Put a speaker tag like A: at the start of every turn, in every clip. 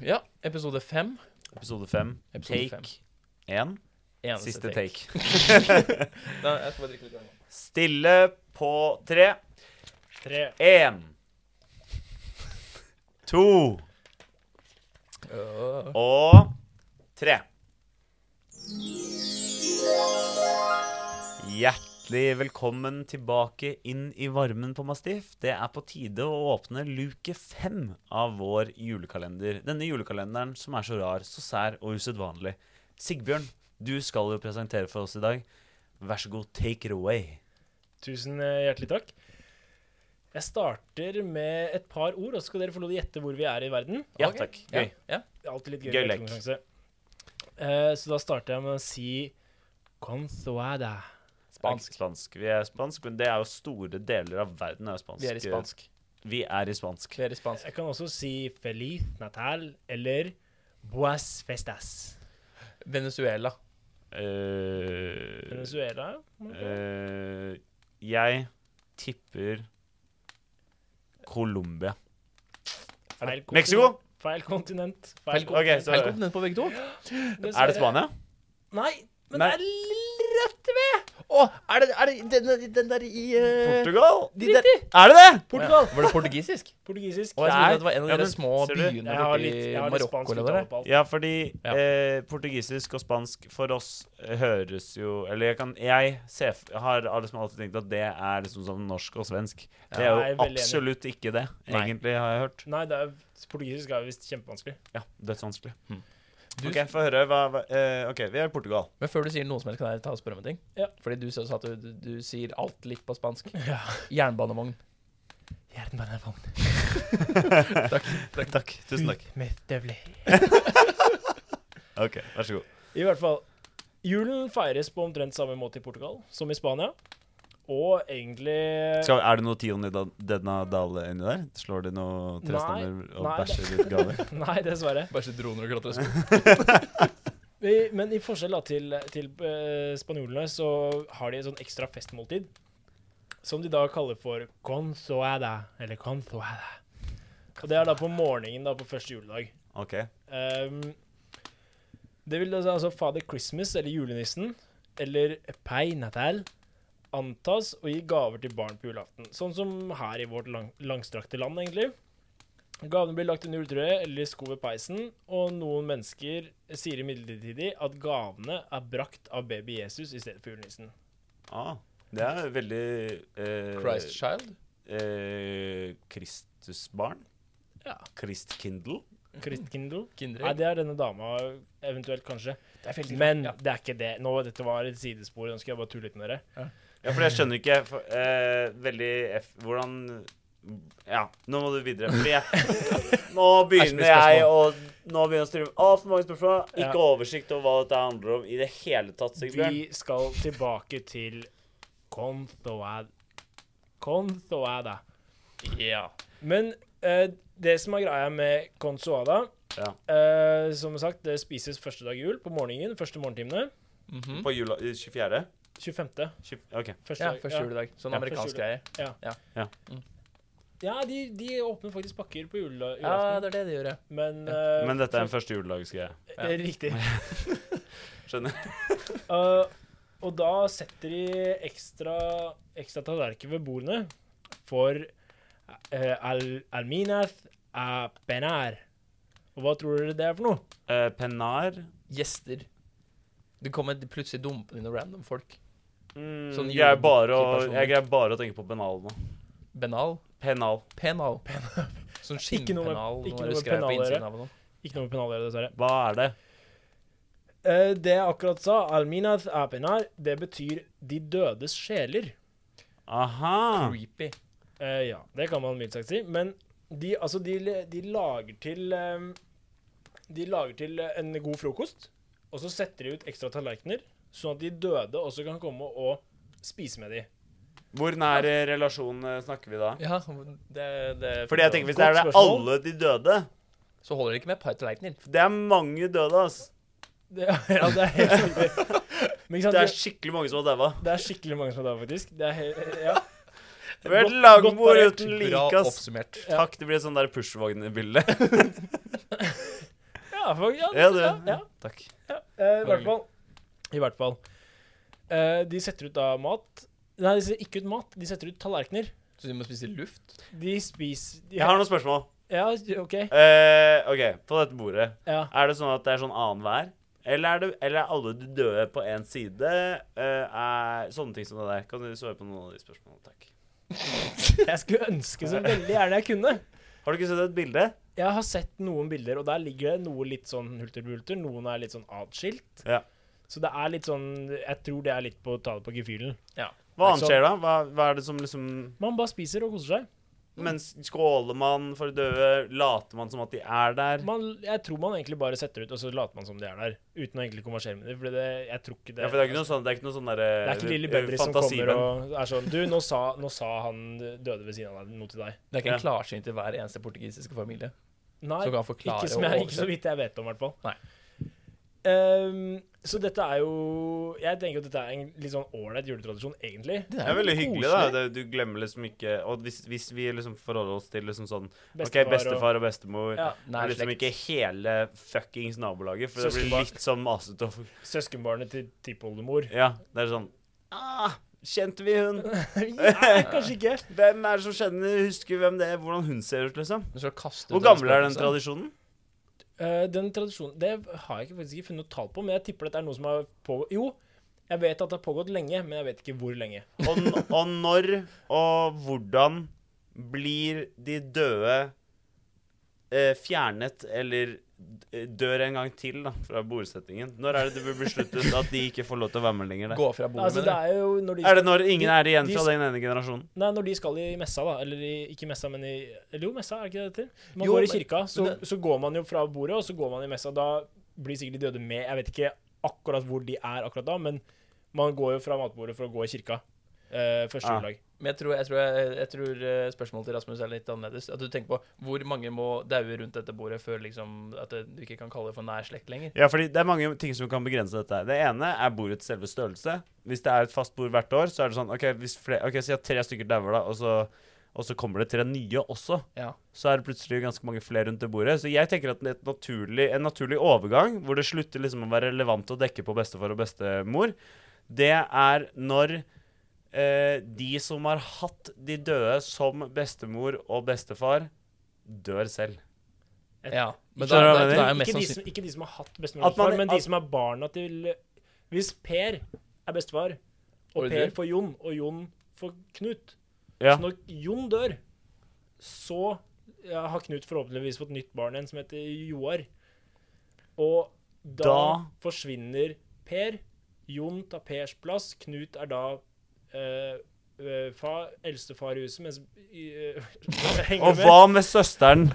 A: Ja, episode fem.
B: Episode fem.
A: Episode
B: take én.
A: Eneste
B: Siste take.
A: Da, jeg skal bare drikke litt vann.
B: Stille på tre.
C: Tre.
B: Én. To.
A: Åh.
B: Og tre. Hjertelig velkommen tilbake inn i varmen på Mastiff. Det er på tide å åpne luke fem av vår julekalender. Denne julekalenderen som er så rar, så sær og usedvanlig. Sigbjørn, du skal jo presentere for oss i dag. Vær så god, take it away.
C: Tusen eh, hjertelig takk. Jeg starter med et par ord, og så skal dere få lov til å gjette hvor vi er i verden.
B: Ja
A: Ok.
B: takk.
A: Ja,
B: Gøy.
A: ja.
C: Det er alltid litt gøy.
B: Gøy
C: med
B: lek.
C: konkurranse. Eh, så da starter jeg med å si Consuada.
A: Spansk.
B: Spansk. Vi er spansk, men det er jo store deler av verden er jo spansk.
A: Vi er i spansk.
B: Vi er i spansk.
A: Vi er i spansk.
C: Jeg kan også si Feliz Natal eller Buas Festas.
A: Venezuela.
B: Eh,
C: Venezuela?
B: Eh, jeg tipper Colombia.
C: Feil kontinent.
B: Mexico?
C: Feil kontinent.
A: Feil
B: kon-
C: kontinent.
B: Så-
A: Feil kontinent på begge to.
B: Er det Spania?
A: Eh,
C: Nei, men
B: Nei.
C: det er litt rødt ved!
A: Å, er det, er det den, der- den der i eh,
B: Portugal?
A: de der-
B: Er det det?
A: Portugal. Var det portugisisk?
C: Portugisisk.
A: Og jeg
B: Nei.
A: trodde det var en av
B: Ja,
A: de
B: men,
A: små
B: ser du,
A: byene
C: Jeg har
A: borti
C: litt, jeg har litt
A: Marokko
C: spansk
A: eller hva det
C: uttale
A: er.
C: på alt.
B: Ja, fordi
A: Ja.
B: Eh, portugisisk og spansk for oss eh, høres jo Eller jeg kan Jeg ser, f- har alle som alltid tenkt at det er liksom som norsk og svensk. Det er
C: jeg er
B: jo
C: veldig enig.
B: absolutt ikke det,
A: Nei.
B: egentlig, har jeg hørt.
C: Nei, det er, portugisisk er jo visst kjempevanskelig.
B: Ja, Dødsvanskelig.
A: Du-
B: OK, få høre. Hva, hva, eh, OK, vi er i Portugal.
A: Men før du sier noe som helst, kan jeg ta og spørre om en ting?
C: Ja.
A: Fordi du sa at du, du, du sier alt litt på spansk.
C: Ja.
A: Jernbanevogn.
C: Jernbanevogn.
B: Takk. Tusen takk.
C: Med støvler.
B: OK, vær så god.
C: I hvert fall. Julen feires på omtrent samme måte i Portugal som i Spania. Og egentlig
B: Skal, er det noe tion i da- denne dalen inni der? Slår de noe trestammer og
C: nei, det-
B: bæsjer ut gaver?
C: Nei, dessverre.
A: Bare ikke droner og klatresko.
C: I- Men i forskjell da til, til eh, spanjolene så har de et sånn ekstra festmåltid. Som de da kaller for consoada, eller consoada. Og det er da på morgenen da på første juledag.
B: OK.
C: Ehm, det vil altså altså Father Christmas, eller julenissen, eller Pai Natal, antas å gi gaver til barn på julaften. Sånn som her i vårt lang langstrakte land, egentlig. Gavene blir lagt under juletreet eller i sko ved peisen, og noen mennesker sier imidlertid at gavene er brakt av baby Jesus i stedet for julenissen.
B: Ah, det er veldig eh,
A: Christ Child.
B: eh, Kristusbarn?
C: Ja.
B: Kristkindel?
C: Kristkindel? Nei,
A: Kinderegg.
C: det er denne dama, eventuelt, kanskje.
A: Det er veldig
C: Men
A: Ja.
C: det er ikke det. Nå, dette var et sidespor, nå skal jeg bare tulle litt med dere.
B: Ja, for jeg skjønner ikke for, eh, veldig F, Hvordan Ja, nå må du videre. Fordi jeg, nå begynner jeg å Nå begynner jeg å stille altfor mange spørsmål.
C: Ja.
B: Ikke oversikt over hva dette handler om i det hele tatt, Sigbjørn.
C: Vi skal tilbake til Kontoad. Kontoada.
A: Ja.
C: Men eh, det som er greia med Konsoada
B: Ja.
C: eh, Som sagt, det spises første dag jul på morgenen. Første morgentimene.
A: Mhm.
B: På jula 24.?
C: 25.
B: Tjue- OK.
C: Første
A: ja
C: dag-
A: første juledag. Sånn
B: Ja,
A: amerikansk
C: første
A: greie.
C: Ja, de, de åpner faktisk pakker på jula,
A: Ja,
C: julaften.
A: det er det de gjør, ja.
C: men, eh,
B: Men dette er en første juledagsgreie.
C: det er Riktig.
B: Skjønner.
C: Eh, og da setter de ekstra, ekstra tallerkener ved bordene for eh, al alminath a penar. Og hva tror dere det er for noe?
B: Eh, penar
A: Gjester. Det kommer plutselig dumpende inn noen random folk.
B: mm,
A: Sånn
B: jeg, er bare å,
A: julebukkepersoner.
B: jeg greier bare å tenke på penal nå.
A: Benal.
B: Penal.
A: Penal. Sånn
C: Ikke noe med-
A: skinnpenal. Nå er
C: ikke noe
A: det
C: med
A: skrevet på
C: penal å gjøre.
A: innsiden av noe.
C: Ikke noe med penal å gjøre, dessverre.
B: Hva er det?
C: Eh, det jeg akkurat sa, alminath a penar, det betyr de dødes sjeler.
B: Aha.
A: Creepy.
C: Eh, ja, det kan man mildt sagt si. Men de, altså, de, de lager til eh, De lager til eh, en god frokost, og så setter de ut ekstra tallerkener, sånn at de døde også kan komme og spise med de.
B: Hvor nær eh, relasjon eh, snakker vi da?
A: Ja, det, det
B: Fordi jeg tenker Hvis det
C: Godt
B: er det
C: spørsmål.
B: alle de døde
A: Så holder det ikke med et par tallerkener.
B: Det er mange døde, ass.
C: Det, ja, det er helt riktig. Men ikke sant,
B: Det er skikkelig mange som har daua.
C: det er skikkelig mange som er der, faktisk. Det er he- ja.
B: Det blir et
C: Godt- godt
B: langbord
C: parert.
B: uten
A: Bra
B: like, ass.
A: oppsummert.
B: Takk. Det blir et sånn der pushvogn-bilde.
C: Ja, for, ja,
B: Ja,
C: det,
B: det,
C: ja, ja.
B: Takk.
C: Eh, I hvert fall. I hvert fall. Eh, de setter ut da mat. Nei, de setter ikke ut mat, de setter ut tallerkener.
A: Så du må spise luft?
C: De spiser de
B: Jeg har noen spørsmål.
C: Ja, OK.
B: Eh, OK, på dette bordet.
C: Ja.
B: Er det sånn at det er sånn annenhver? Eller, er det- eller er alle de døde på én side? Eh, er, sånne ting som det der. Kan du svare på noen av de spørsmålene? Takk.
C: Jeg skulle ønske så veldig gjerne jeg kunne.
B: Har du ikke sett et bilde?
C: Jeg har sett noen bilder, og der ligger det noe litt sånn hulter-bulter. Noen er litt sånn atskilt.
B: Ja.
C: Så det er litt sånn Jeg tror det er litt på å ta det på gefühlen.
A: Ja.
B: Hva
C: Det
B: annet
C: er
B: skjer da? Hva, hva er det som liksom
C: Man bare spiser og koser seg.
B: Men skåler man for døde? Later man som at de er der?
C: Man, jeg tror man egentlig bare setter ut, og så later man som de er der. Uten å egentlig konversere med dem. For det, jeg tror ikke det
B: ja, for det er ikke noe sånn Det er ikke noe sånn derre
C: Det er ikke
A: Eh,
C: Lilly Bendriss som kommer og er sånn Du, nå sa, nå sa han døde ved siden av deg noe til deg.
A: Det er ikke en
B: Ja.
A: klarsyn til hver eneste portugisiske familie.
C: Nei,
A: Så kan han forklare
C: ikke, som
A: og
C: jeg, ikke så
A: oversette.
C: vidt jeg vet om, i hvert fall.
A: Nei.
C: Ehm, så dette er jo Jeg tenker at dette er en litt sånn ålreit juletradisjon, egentlig.
A: Det
B: Det er veldig hyggelig, da.
A: koselig.
B: Det, du glemmer liksom ikke Og hvis, hvis vi liksom forholder oss til liksom sånn
C: Bestefar
B: OK, bestefar og bestemor.
C: Ja.
B: Det
A: Nær
B: er liksom
A: slekt.
B: ikke hele fuckings nabolaget, for det blir
C: Søskenbarn.
B: litt sånn masete. og-
C: og søskenbarnet til tippoldemor.
B: Ja, det er sånn ah, Kjente vi hun?
C: Nei, kanskje ikke.
B: Hvem er det som kjenner, husker hvem det er, hvordan hun ser ut, liksom?
A: Men så kaster du
B: Hvor
A: ut alle
B: gammel er liksom.
A: spøkelsene.
B: den tradisjonen?
C: Eh, den tradisjonen Det har jeg ikke, faktisk ikke funnet noe tall på, men jeg tipper dette er noe som har pågått Jo, jeg vet at det har pågått lenge, men jeg vet ikke hvor lenge.
B: Og, n- og når og hvordan blir de døde eh, fjernet eller d- dør en gang til da, fra bordsettingen? Når er det det blir besluttet at de ikke får lov til å være med lenger?
A: Gå fra bordet,
C: Altså, det
A: mener
C: er jo når de
B: Da? Er det når ingen
C: De-
B: er igjen
C: de-
B: fra den ene generasjonen?
C: Nei, når de skal i messa, da. Eller i, ikke messa, men i Eller jo, messa, er det ikke det det heter? Man
A: Jo,
C: går i
A: men-
C: kirka, så,
A: men
C: så går man jo fra bordet, og så går man i messa. Da blir sikkert de døde med. Jeg vet ikke akkurat hvor de er akkurat da, men man går jo fra matbordet for å gå i kirka. eh, første
B: Ah.
C: juledag.
A: du? Men jeg tror, jeg tror, jeg, jeg tror eh, spørsmålet til Rasmus er litt annerledes. At du tenker på hvor mange må daue rundt dette bordet før liksom, at det, du ikke kan kalle det for nær slekt lenger.
B: Ja, fordi det er mange ting som kan begrense dette. her. Det ene er bordets selve størrelse. Hvis det er et fast bord hvert år, så er det sånn OK, hvis flere, ok, si at tre stykker dauer, da, og så, og så kommer det tre nye også.
A: Ja.
B: Så er det plutselig ganske mange flere rundt det bordet. Så jeg tenker at det er et naturlig, en naturlig overgang, hvor det slutter liksom å være relevant å dekke på bestefar og bestemor, det er når eh, de som har hatt de døde som bestemor og bestefar, dør selv.
A: ja. Men da,
B: Skjønner
A: da,
B: du hva
A: da,
B: jeg
A: er jeg
C: Ikke
A: mest
C: de,
A: sannsynlig
C: som, ikke de som har hatt bestemor
B: At
C: og
B: man-
C: bestefar, men de
B: at-
C: som er barna til Hvis Per er bestefar, og
A: Og
C: Per
A: dør.
C: får Jon, og Jon får Knut
B: Ja.
C: Så når Jon dør, så ja, har Knut forhåpentligvis fått nytt barn igjen som heter Joar. Og da,
B: Da-
C: forsvinner Per. Jon tar Pers plass. Knut er da eh, eh, fa, eldstefar i huset, mens eh, henger
B: Og
C: med.
B: hva med søsteren?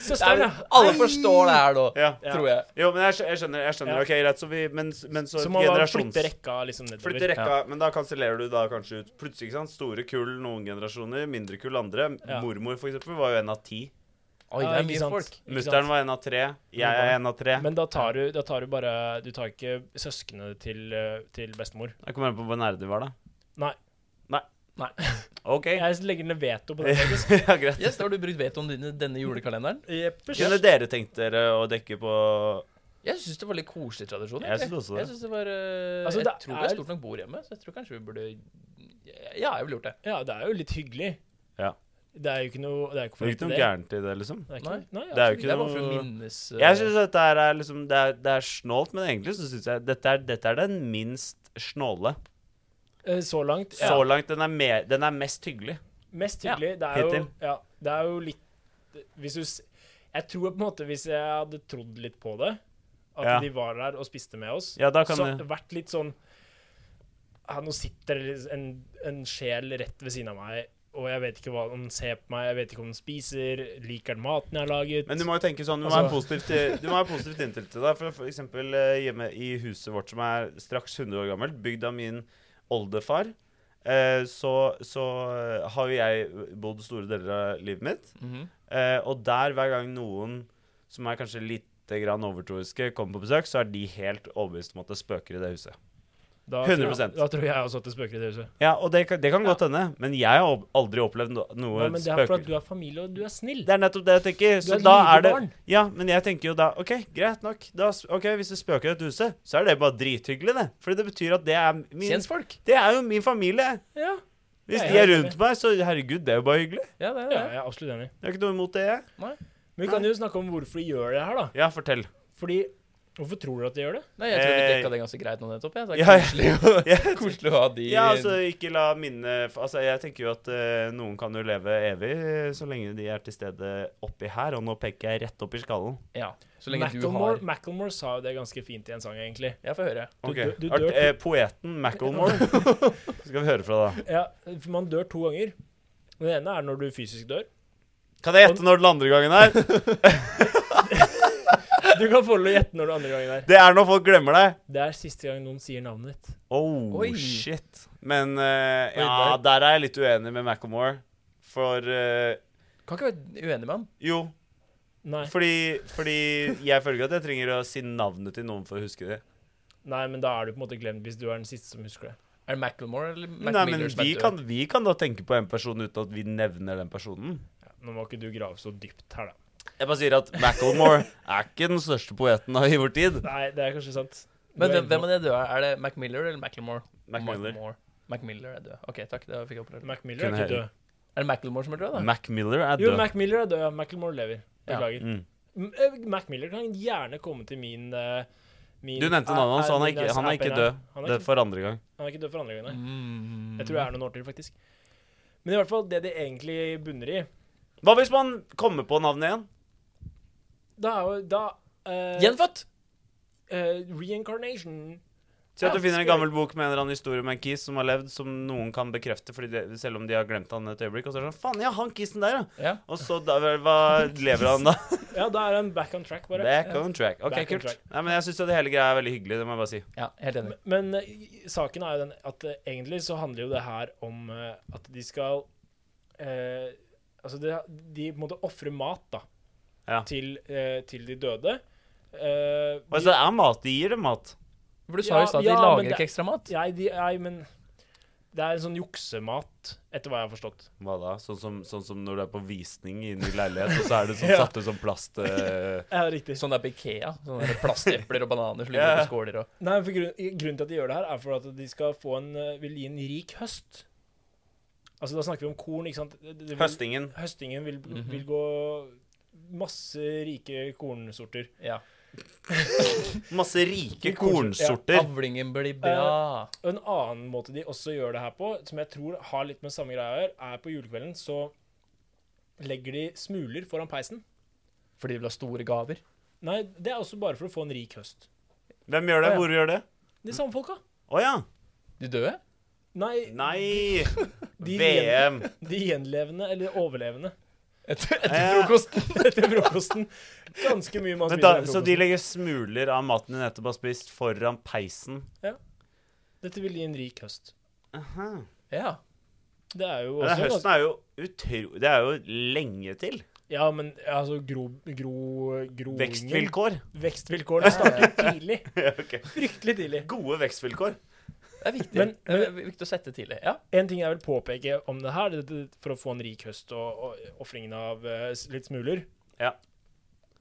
C: Søsteren, ja!
A: Alle forstår det her nå,
B: Ja.
C: Ja.
A: tror jeg.
B: Jo, men jeg, skj- jeg skjønner. jeg skjønner,
C: Ja.
B: ok, greit, så vi, men, men så,
C: Så
B: et
C: man bare
B: generasjons...
C: flytter rekka liksom nedover.
B: Flytter rekka, men da kansellerer du da kanskje ut plutselig, ikke sant? Store kull noen generasjoner, mindre kull andre.
C: Ja.
B: Mormor for eksempel var jo en av ti.
A: Oi, det
C: Ja,
A: er
C: ikke
A: mye
C: sant?
A: folk.
C: Ikke sant?
B: Musteren var en av tre. Jeg er en av tre.
C: Men da tar, du, da tar du bare Du tar ikke søsknene til, eh, til bestemor.
B: Jeg kommer an på hvor nære de var, da.
C: Nei.
B: OK.
C: Jeg legger ned veto på det.
B: ja, greit.
A: Yes, da har du brukt vetoen din i denne julekalenderen.
C: Jeppers.
B: Kunne dere tenkt dere å dekke på
A: Jeg syns det var litt koselig tradisjon.
B: Jeg
A: egentlig.
B: synes også det.
A: Jeg, synes det var, eh,
C: Altså,
A: jeg
C: det
A: tror vi har
C: er-
A: stort nok bord hjemme, så jeg tror kanskje vi burde Ja, jeg ville gjort det.
C: Ja, det er jo litt hyggelig.
B: Ja.
C: Det er jo ikke noe Det er jo
B: Det er
C: ikke for
B: jo ikke
C: lite,
B: noe
C: det.
B: gærent i det, liksom.
C: Det er ikke, nei,
B: Det er jo
C: absolutt.
B: ikke
A: Det er bare for å
B: noe-
A: minnes eh,
B: Jeg syns dette her er liksom Det er, det er snålt, men egentlig så syns jeg dette er, dette er den minst snåle.
C: Eh, Så langt. Ja.
B: Så langt. Den er, mer, den er mest hyggelig.
C: Mest hyggelig. Det, er jo,
B: hittil.
C: ja, det er jo litt Hvis du s- Jeg tror på en måte hvis jeg hadde trodd litt på det, at
B: Ja.
C: de var der og spiste med oss,
B: Ja, da kan
C: så
B: du
C: vært litt sånn ja, Nå sitter det liksom en, en sjel rett ved siden av meg, og jeg vet ikke hva den ser på meg, jeg vet ikke om den spiser, liker den maten jeg har laget
B: Men du må jo tenke sånn, du må
C: Altså-
B: være positivt, til- du må være positivt innstilt til det. For, for eksempel eh, hjemme i huset vårt som er straks 100 år gammelt, bygd av min oldefar, eh, så, så eh, har jo jeg bodd store deler av livet mitt.
A: mhm.
B: Eh, og der, hver gang noen som er kanskje lite grann overtroiske, kommer på besøk, så er de helt overbevist om at det spøker i det huset.
C: Da,
B: 100%.
C: Tror, da tror jeg også at det spøker i det huset.
B: Ja, og det, kan- det kan godt hende, men jeg har ob- aldri opplevd no- noe
C: Nei, men det er fordi at
B: spøkelse.
C: du er familie, og du er snill.
B: Det er nettopp det jeg tenker.
C: Du er
B: Så
C: et
B: da
C: lite
B: er det
C: barn.
B: Ja, men jeg tenker jo da OK, greit nok. Da, s- ok, Hvis det spøker i et huset, så er det bare drithyggelig, det. Fordi det betyr at det er min
A: Kjentfolk.
B: Det er jo min familie.
C: Ja,
B: Hvis
C: Ja,
B: de
C: ja,
B: er
C: det er
B: rundt meg, så herregud, det er jo bare hyggelig.
A: Ja, det er
C: ja,
A: det.
C: jeg er absolutt enig.
B: Jeg har ikke noe imot det, jeg.
C: Men vi kan jo snakke om hvorfor de gjør det her, da.
B: Ja, fortell.
C: Fordi Hvorfor tror dere at de gjør det?
A: Nei, jeg tror vi
B: Eh,
A: dekka det ganske greit nå nettopp. Jeg. Så det
B: Ja,
A: er
B: ja.
A: koselig, å-
B: Ja.
A: koselig å ha de
B: Ja, altså, ikke la minne Altså, jeg tenker jo at eh, noen kan jo leve evig eh, så lenge de er til stede oppi her, og nå peker jeg rett opp i skallen.
A: Ja, Så lenge du
C: Macklemore,
A: har
C: Macklemore sa jo det ganske fint i en sang, egentlig.
A: Jeg får høre.
C: Du-
B: Ok.
C: du- du
B: Art-
C: dør-
B: eh, poeten Macklemore skal vi høre fra, da.
C: Ja, for man dør to ganger. Den ene er når du fysisk dør.
B: Kan jeg gjette når den andre gangen er?
C: Du kan få lov å gjette når den andre gangen er.
B: Det er når folk glemmer deg.
C: Det er siste gang noen sier navnet ditt.
B: Oh,
A: Oi.
B: shit. Men eh,
A: Oi,
B: ja, der er jeg litt uenig med Macklemore. For eh,
A: Kan ikke være uenig med han.
B: Jo,
C: Nei,
B: fordi, fordi jeg føler ikke at jeg trenger å si navnet til noen for å huske det.
C: nei men da er du på en måte glemt hvis du er den siste som husker det.
A: Er det Macklemore eller Mac
B: Nei, men
A: Miller som er
B: vi
A: død?
B: kan, vi kan da tenke på en person uten at vi nevner den personen.
C: Ja, nå må ikke du grave så dypt her, da.
B: Jeg bare sier at Macklemore er ikke den største poeten av i vår tid.
C: Nei, det er kanskje sant.
A: Men hvem, hvem er det døde? Er det Mac Miller eller Macklemore?
B: Mac-Miller.
A: Macklemore. Mac Miller er død. OK, takk. Det fikk jeg opplært.
C: Mac Miller er
B: Kunne
C: ikke død.
A: Er det Macklemore som er død, da?
B: Mac-Miller er
C: Jo,
B: død.
C: Mac Miller er død. ja. Macklemore lever. Beklager.
B: Mm.
C: M- eh, Mac Miller kan gjerne komme til min, eh, min eh,
B: Du nevnte navnet hans, så han er ikke, han er ikke død.
C: Han
B: Det
C: er
B: er
C: ikke,
B: for andre gang.
C: han er ikke død for andre gangen. nei.
A: Mm.
C: Jeg tror det er noen år til, faktisk. Men i hvert fall, det det egentlig bunner i
B: Hva hvis man kommer på navnet igjen?
C: Da er jo da eh,
A: Gjenfødt!
C: eh, Reincarnation.
B: Si at
C: Ja,
B: du finner en
C: skal-
B: gammel bok med en eller annen historie om en kis som har levd, som noen kan bekrefte, fordi det, selv om de har glemt han et øyeblikk. Og så er det sånn Faen, ja, han kisen der, ja.
A: Ja.
B: Og så da, vel, hva lever han da?
C: Ja, da er han back on track, bare.
B: Back on track. OK,
C: Back on
B: kult.
C: track.
B: Nei, men jeg syns jo det hele greia er veldig hyggelig, det må jeg bare si.
A: ja, helt enig.
C: Men eh, i- saken er jo den at eh, egentlig så handler jo det her om eh, at de skal eh, Altså, det, de på en måte ofre mat, da,
B: Ja.
C: til, eh, til de døde. Eh,
B: Og
C: de-
B: så er mat. De gir dem mat.
A: For du sa jo i stad at
C: Ja,
A: de
C: ja, men
A: lager
C: det-
A: ikke ekstra mat.
C: Nei, de, nei, men det er en sånn juksemat, etter hva jeg har forstått.
B: Hva da? Sånn som, sånn som når du er på visning i en ny leilighet, og så er det sånn
C: Ja.
B: satt ut som plast eh,
C: Ja, riktig.
A: Sånn der på Ikea. Sånne der plastepler og bananer som
B: Ja,
A: ligger
B: ja.
A: på skåler og
C: Nei, for grunn, i- Grunnen til at de gjør det her, er for at de skal få en, eh, vil gi en rik høst. Altså, da snakker vi om korn, ikke sant? Det- det vil-
B: Høstingen.
C: Høstingen vil,
A: Mhm.
C: vil gå masse rike kornsorter.
A: Ja.
B: Masse rike
C: kornsorter.
B: kornsorter.
A: Avlingen blir bra.
C: Og En annen måte de også gjør det her på, som jeg tror har litt med samme greia å gjøre, er på julekvelden så legger de smuler foran peisen.
A: Fordi de vil ha store gaver.
C: Nei, det er også bare for å få en rik høst.
B: Hvem gjør
A: Å,
B: det?
A: ja.
B: Hvor gjør det?
C: De samme folka.
B: Å ja.
A: De døde?
C: Nei,
B: Nei.
C: de, gjen,
B: VM.
C: de gjenlevende, eller overlevende,
A: Etter, etter
B: Ja.
A: frokosten.
C: etter frokosten. Ganske mye man
B: Men
C: spiser
B: da,
C: etter
B: så de
C: frokosten.
B: legger smuler av maten de nettopp har spist, foran peisen.
C: Dette vil gi en rik høst.
B: Aha.
A: Ja.
C: Det er jo
B: Men
C: også
B: høsten er jo utro... Det er jo lenge til.
C: Ja, men altså gro... gro groingen-
B: Vekstvilkår.
C: Vekstvilkårene starter tidlig.
B: ok.
C: Fryktelig tidlig.
B: Gode vekstvilkår.
A: Det er viktig.
C: Men-
A: det er viktig å sette tidlig. Ja.
C: En ting jeg vil påpeke om det her, det- det- for å få en rik høst og, og ofringen av eh, s- litt smuler
B: Ja.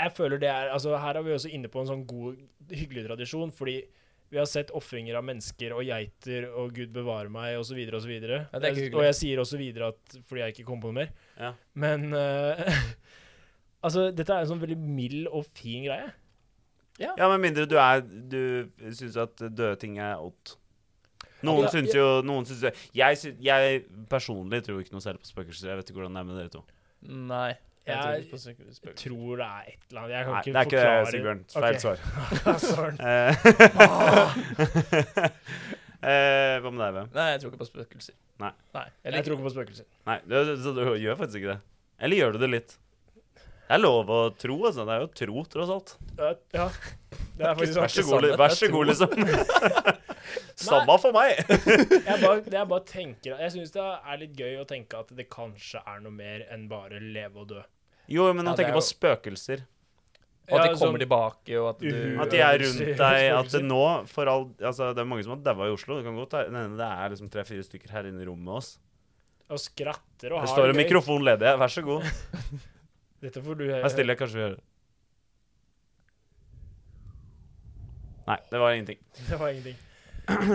C: Jeg føler det er Altså, her er vi også inne på en sånn god, hyggelig tradisjon, fordi vi har sett ofringer av mennesker og geiter og 'Gud bevare meg' osv. osv.
A: Ja, det er ikke hyggelig.
C: og jeg sier også videre at fordi jeg ikke kom på noe mer.
B: Ja.
C: Men eh, Altså, dette er en sånn veldig mild og fin greie.
B: Ja, med mindre du er Du syns at døde ting er odd. Noen
C: Ja,
B: syns
C: ja.
B: jo noen syns, jeg, syns- jeg personlig tror ikke noe særlig på spøkelser. Jeg vet ikke hvordan det er med dere to.
A: Nei. Jeg tror
C: Jeg-
A: ikke på spøk-
C: Jeg
A: spøkelser.
C: tror det er et eller annet Jeg kan
B: Nei,
C: ikke
B: det er ikke det,
C: forklare
B: Sigbjørn.
C: Ok.
B: Feil svar.
C: Søren.
B: Eh, eh, Hva med deg, hvem?
A: Nei, jeg tror ikke på spøkelser.
B: Nei.
A: Nei. Eller,
C: Jeg tror ikke på spøkelser.
B: Nei, du, du, så du gjør faktisk ikke det. Eller gjør du det litt? Det er lov å tro, altså. Det er jo tro, tross alt.
C: Ja, ja. Det er faktisk sånn.
B: Vær
C: sant.
B: så god, li- vær så god liksom. Samme for meg.
C: Jeg bare, jeg bare tenker Jeg syns det er litt gøy å tenke at det kanskje er noe mer enn bare leve og dø.
B: Jo, men
A: Ja,
B: nå
A: det
B: tenker
A: er
B: jeg på spøkelser.
A: Og at
C: Ja,
A: de kommer
C: sånn-
A: tilbake, og at du
C: Uhu.
B: At de er rundt
C: Spøkelser.
B: deg. At det nå for all, altså, Det er mange som har daua i Oslo. Det kan godt hende det er liksom tre-fire stykker her inne i rommet med oss.
C: Og skratter og
B: Det
C: har
B: står en
C: det gøy.
B: mikrofon ledig. Vær så god.
C: Dette får du
B: Vær stille, kanskje vi gjør det. Nei, det var ingenting.
C: Det var ingenting.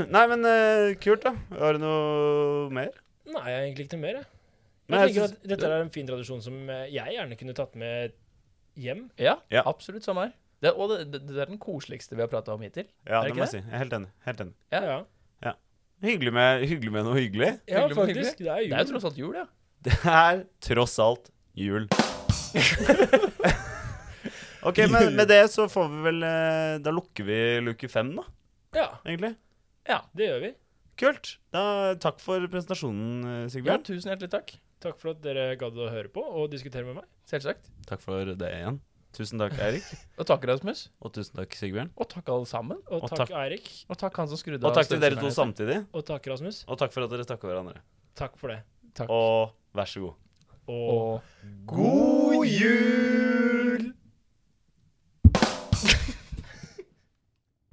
B: Nei, men eh, kult, da. Har du noe mer?
C: Nei, jeg har egentlig ikke noe mer, jeg.
B: Men
C: Jeg
B: jeg
C: tenker
B: syns-
C: at dette er en fin tradisjon som eh, jeg gjerne kunne tatt med hjem.
A: Ja,
B: Ja.
A: absolutt. Samme her. Det, og det, det, det er den koseligste vi har prata om hittil.
B: Ja,
A: Er det
B: det
A: ikke
B: må jeg si. Jeg er helt enig. Helt enig.
A: Ja.
C: Ja,
B: Hyggelig med, hyggelig med noe hyggelig.
A: Hyggelig,
C: ja
A: men hyggelig.
C: faktisk. Det er
A: Det er jo
C: jul.
A: tross alt jul, ja.
B: Det er tross alt jul. OK, men med det så får vi vel eh, Da lukker vi luke fem, da,
C: Ja,
B: egentlig.
C: det gjør vi.
B: Kult. Da, takk for presentasjonen, eh,
A: ja.
B: Sigbjørn.
A: Tusen hjertelig takk.
C: Takk for at dere gadd å høre på og diskutere med meg.
A: Selvsagt.
B: Takk for det igjen. Tusen takk, Eirik.
A: Og takk, Rasmus.
B: Og tusen takk, Sigbjørn.
A: Og takk, alle sammen.
C: Og,
B: Og
C: takk,
B: takk.
C: Eirik.
A: Og takk, han som skrudde
B: Og takk til dere to
A: støvsugeren.
B: samtidig.
C: Og takk, Rasmus.
B: Og takk for at dere takka hverandre.
C: Takk for det.
A: Takk.
B: Og vær så god.
C: Og,
A: Og
B: God jul!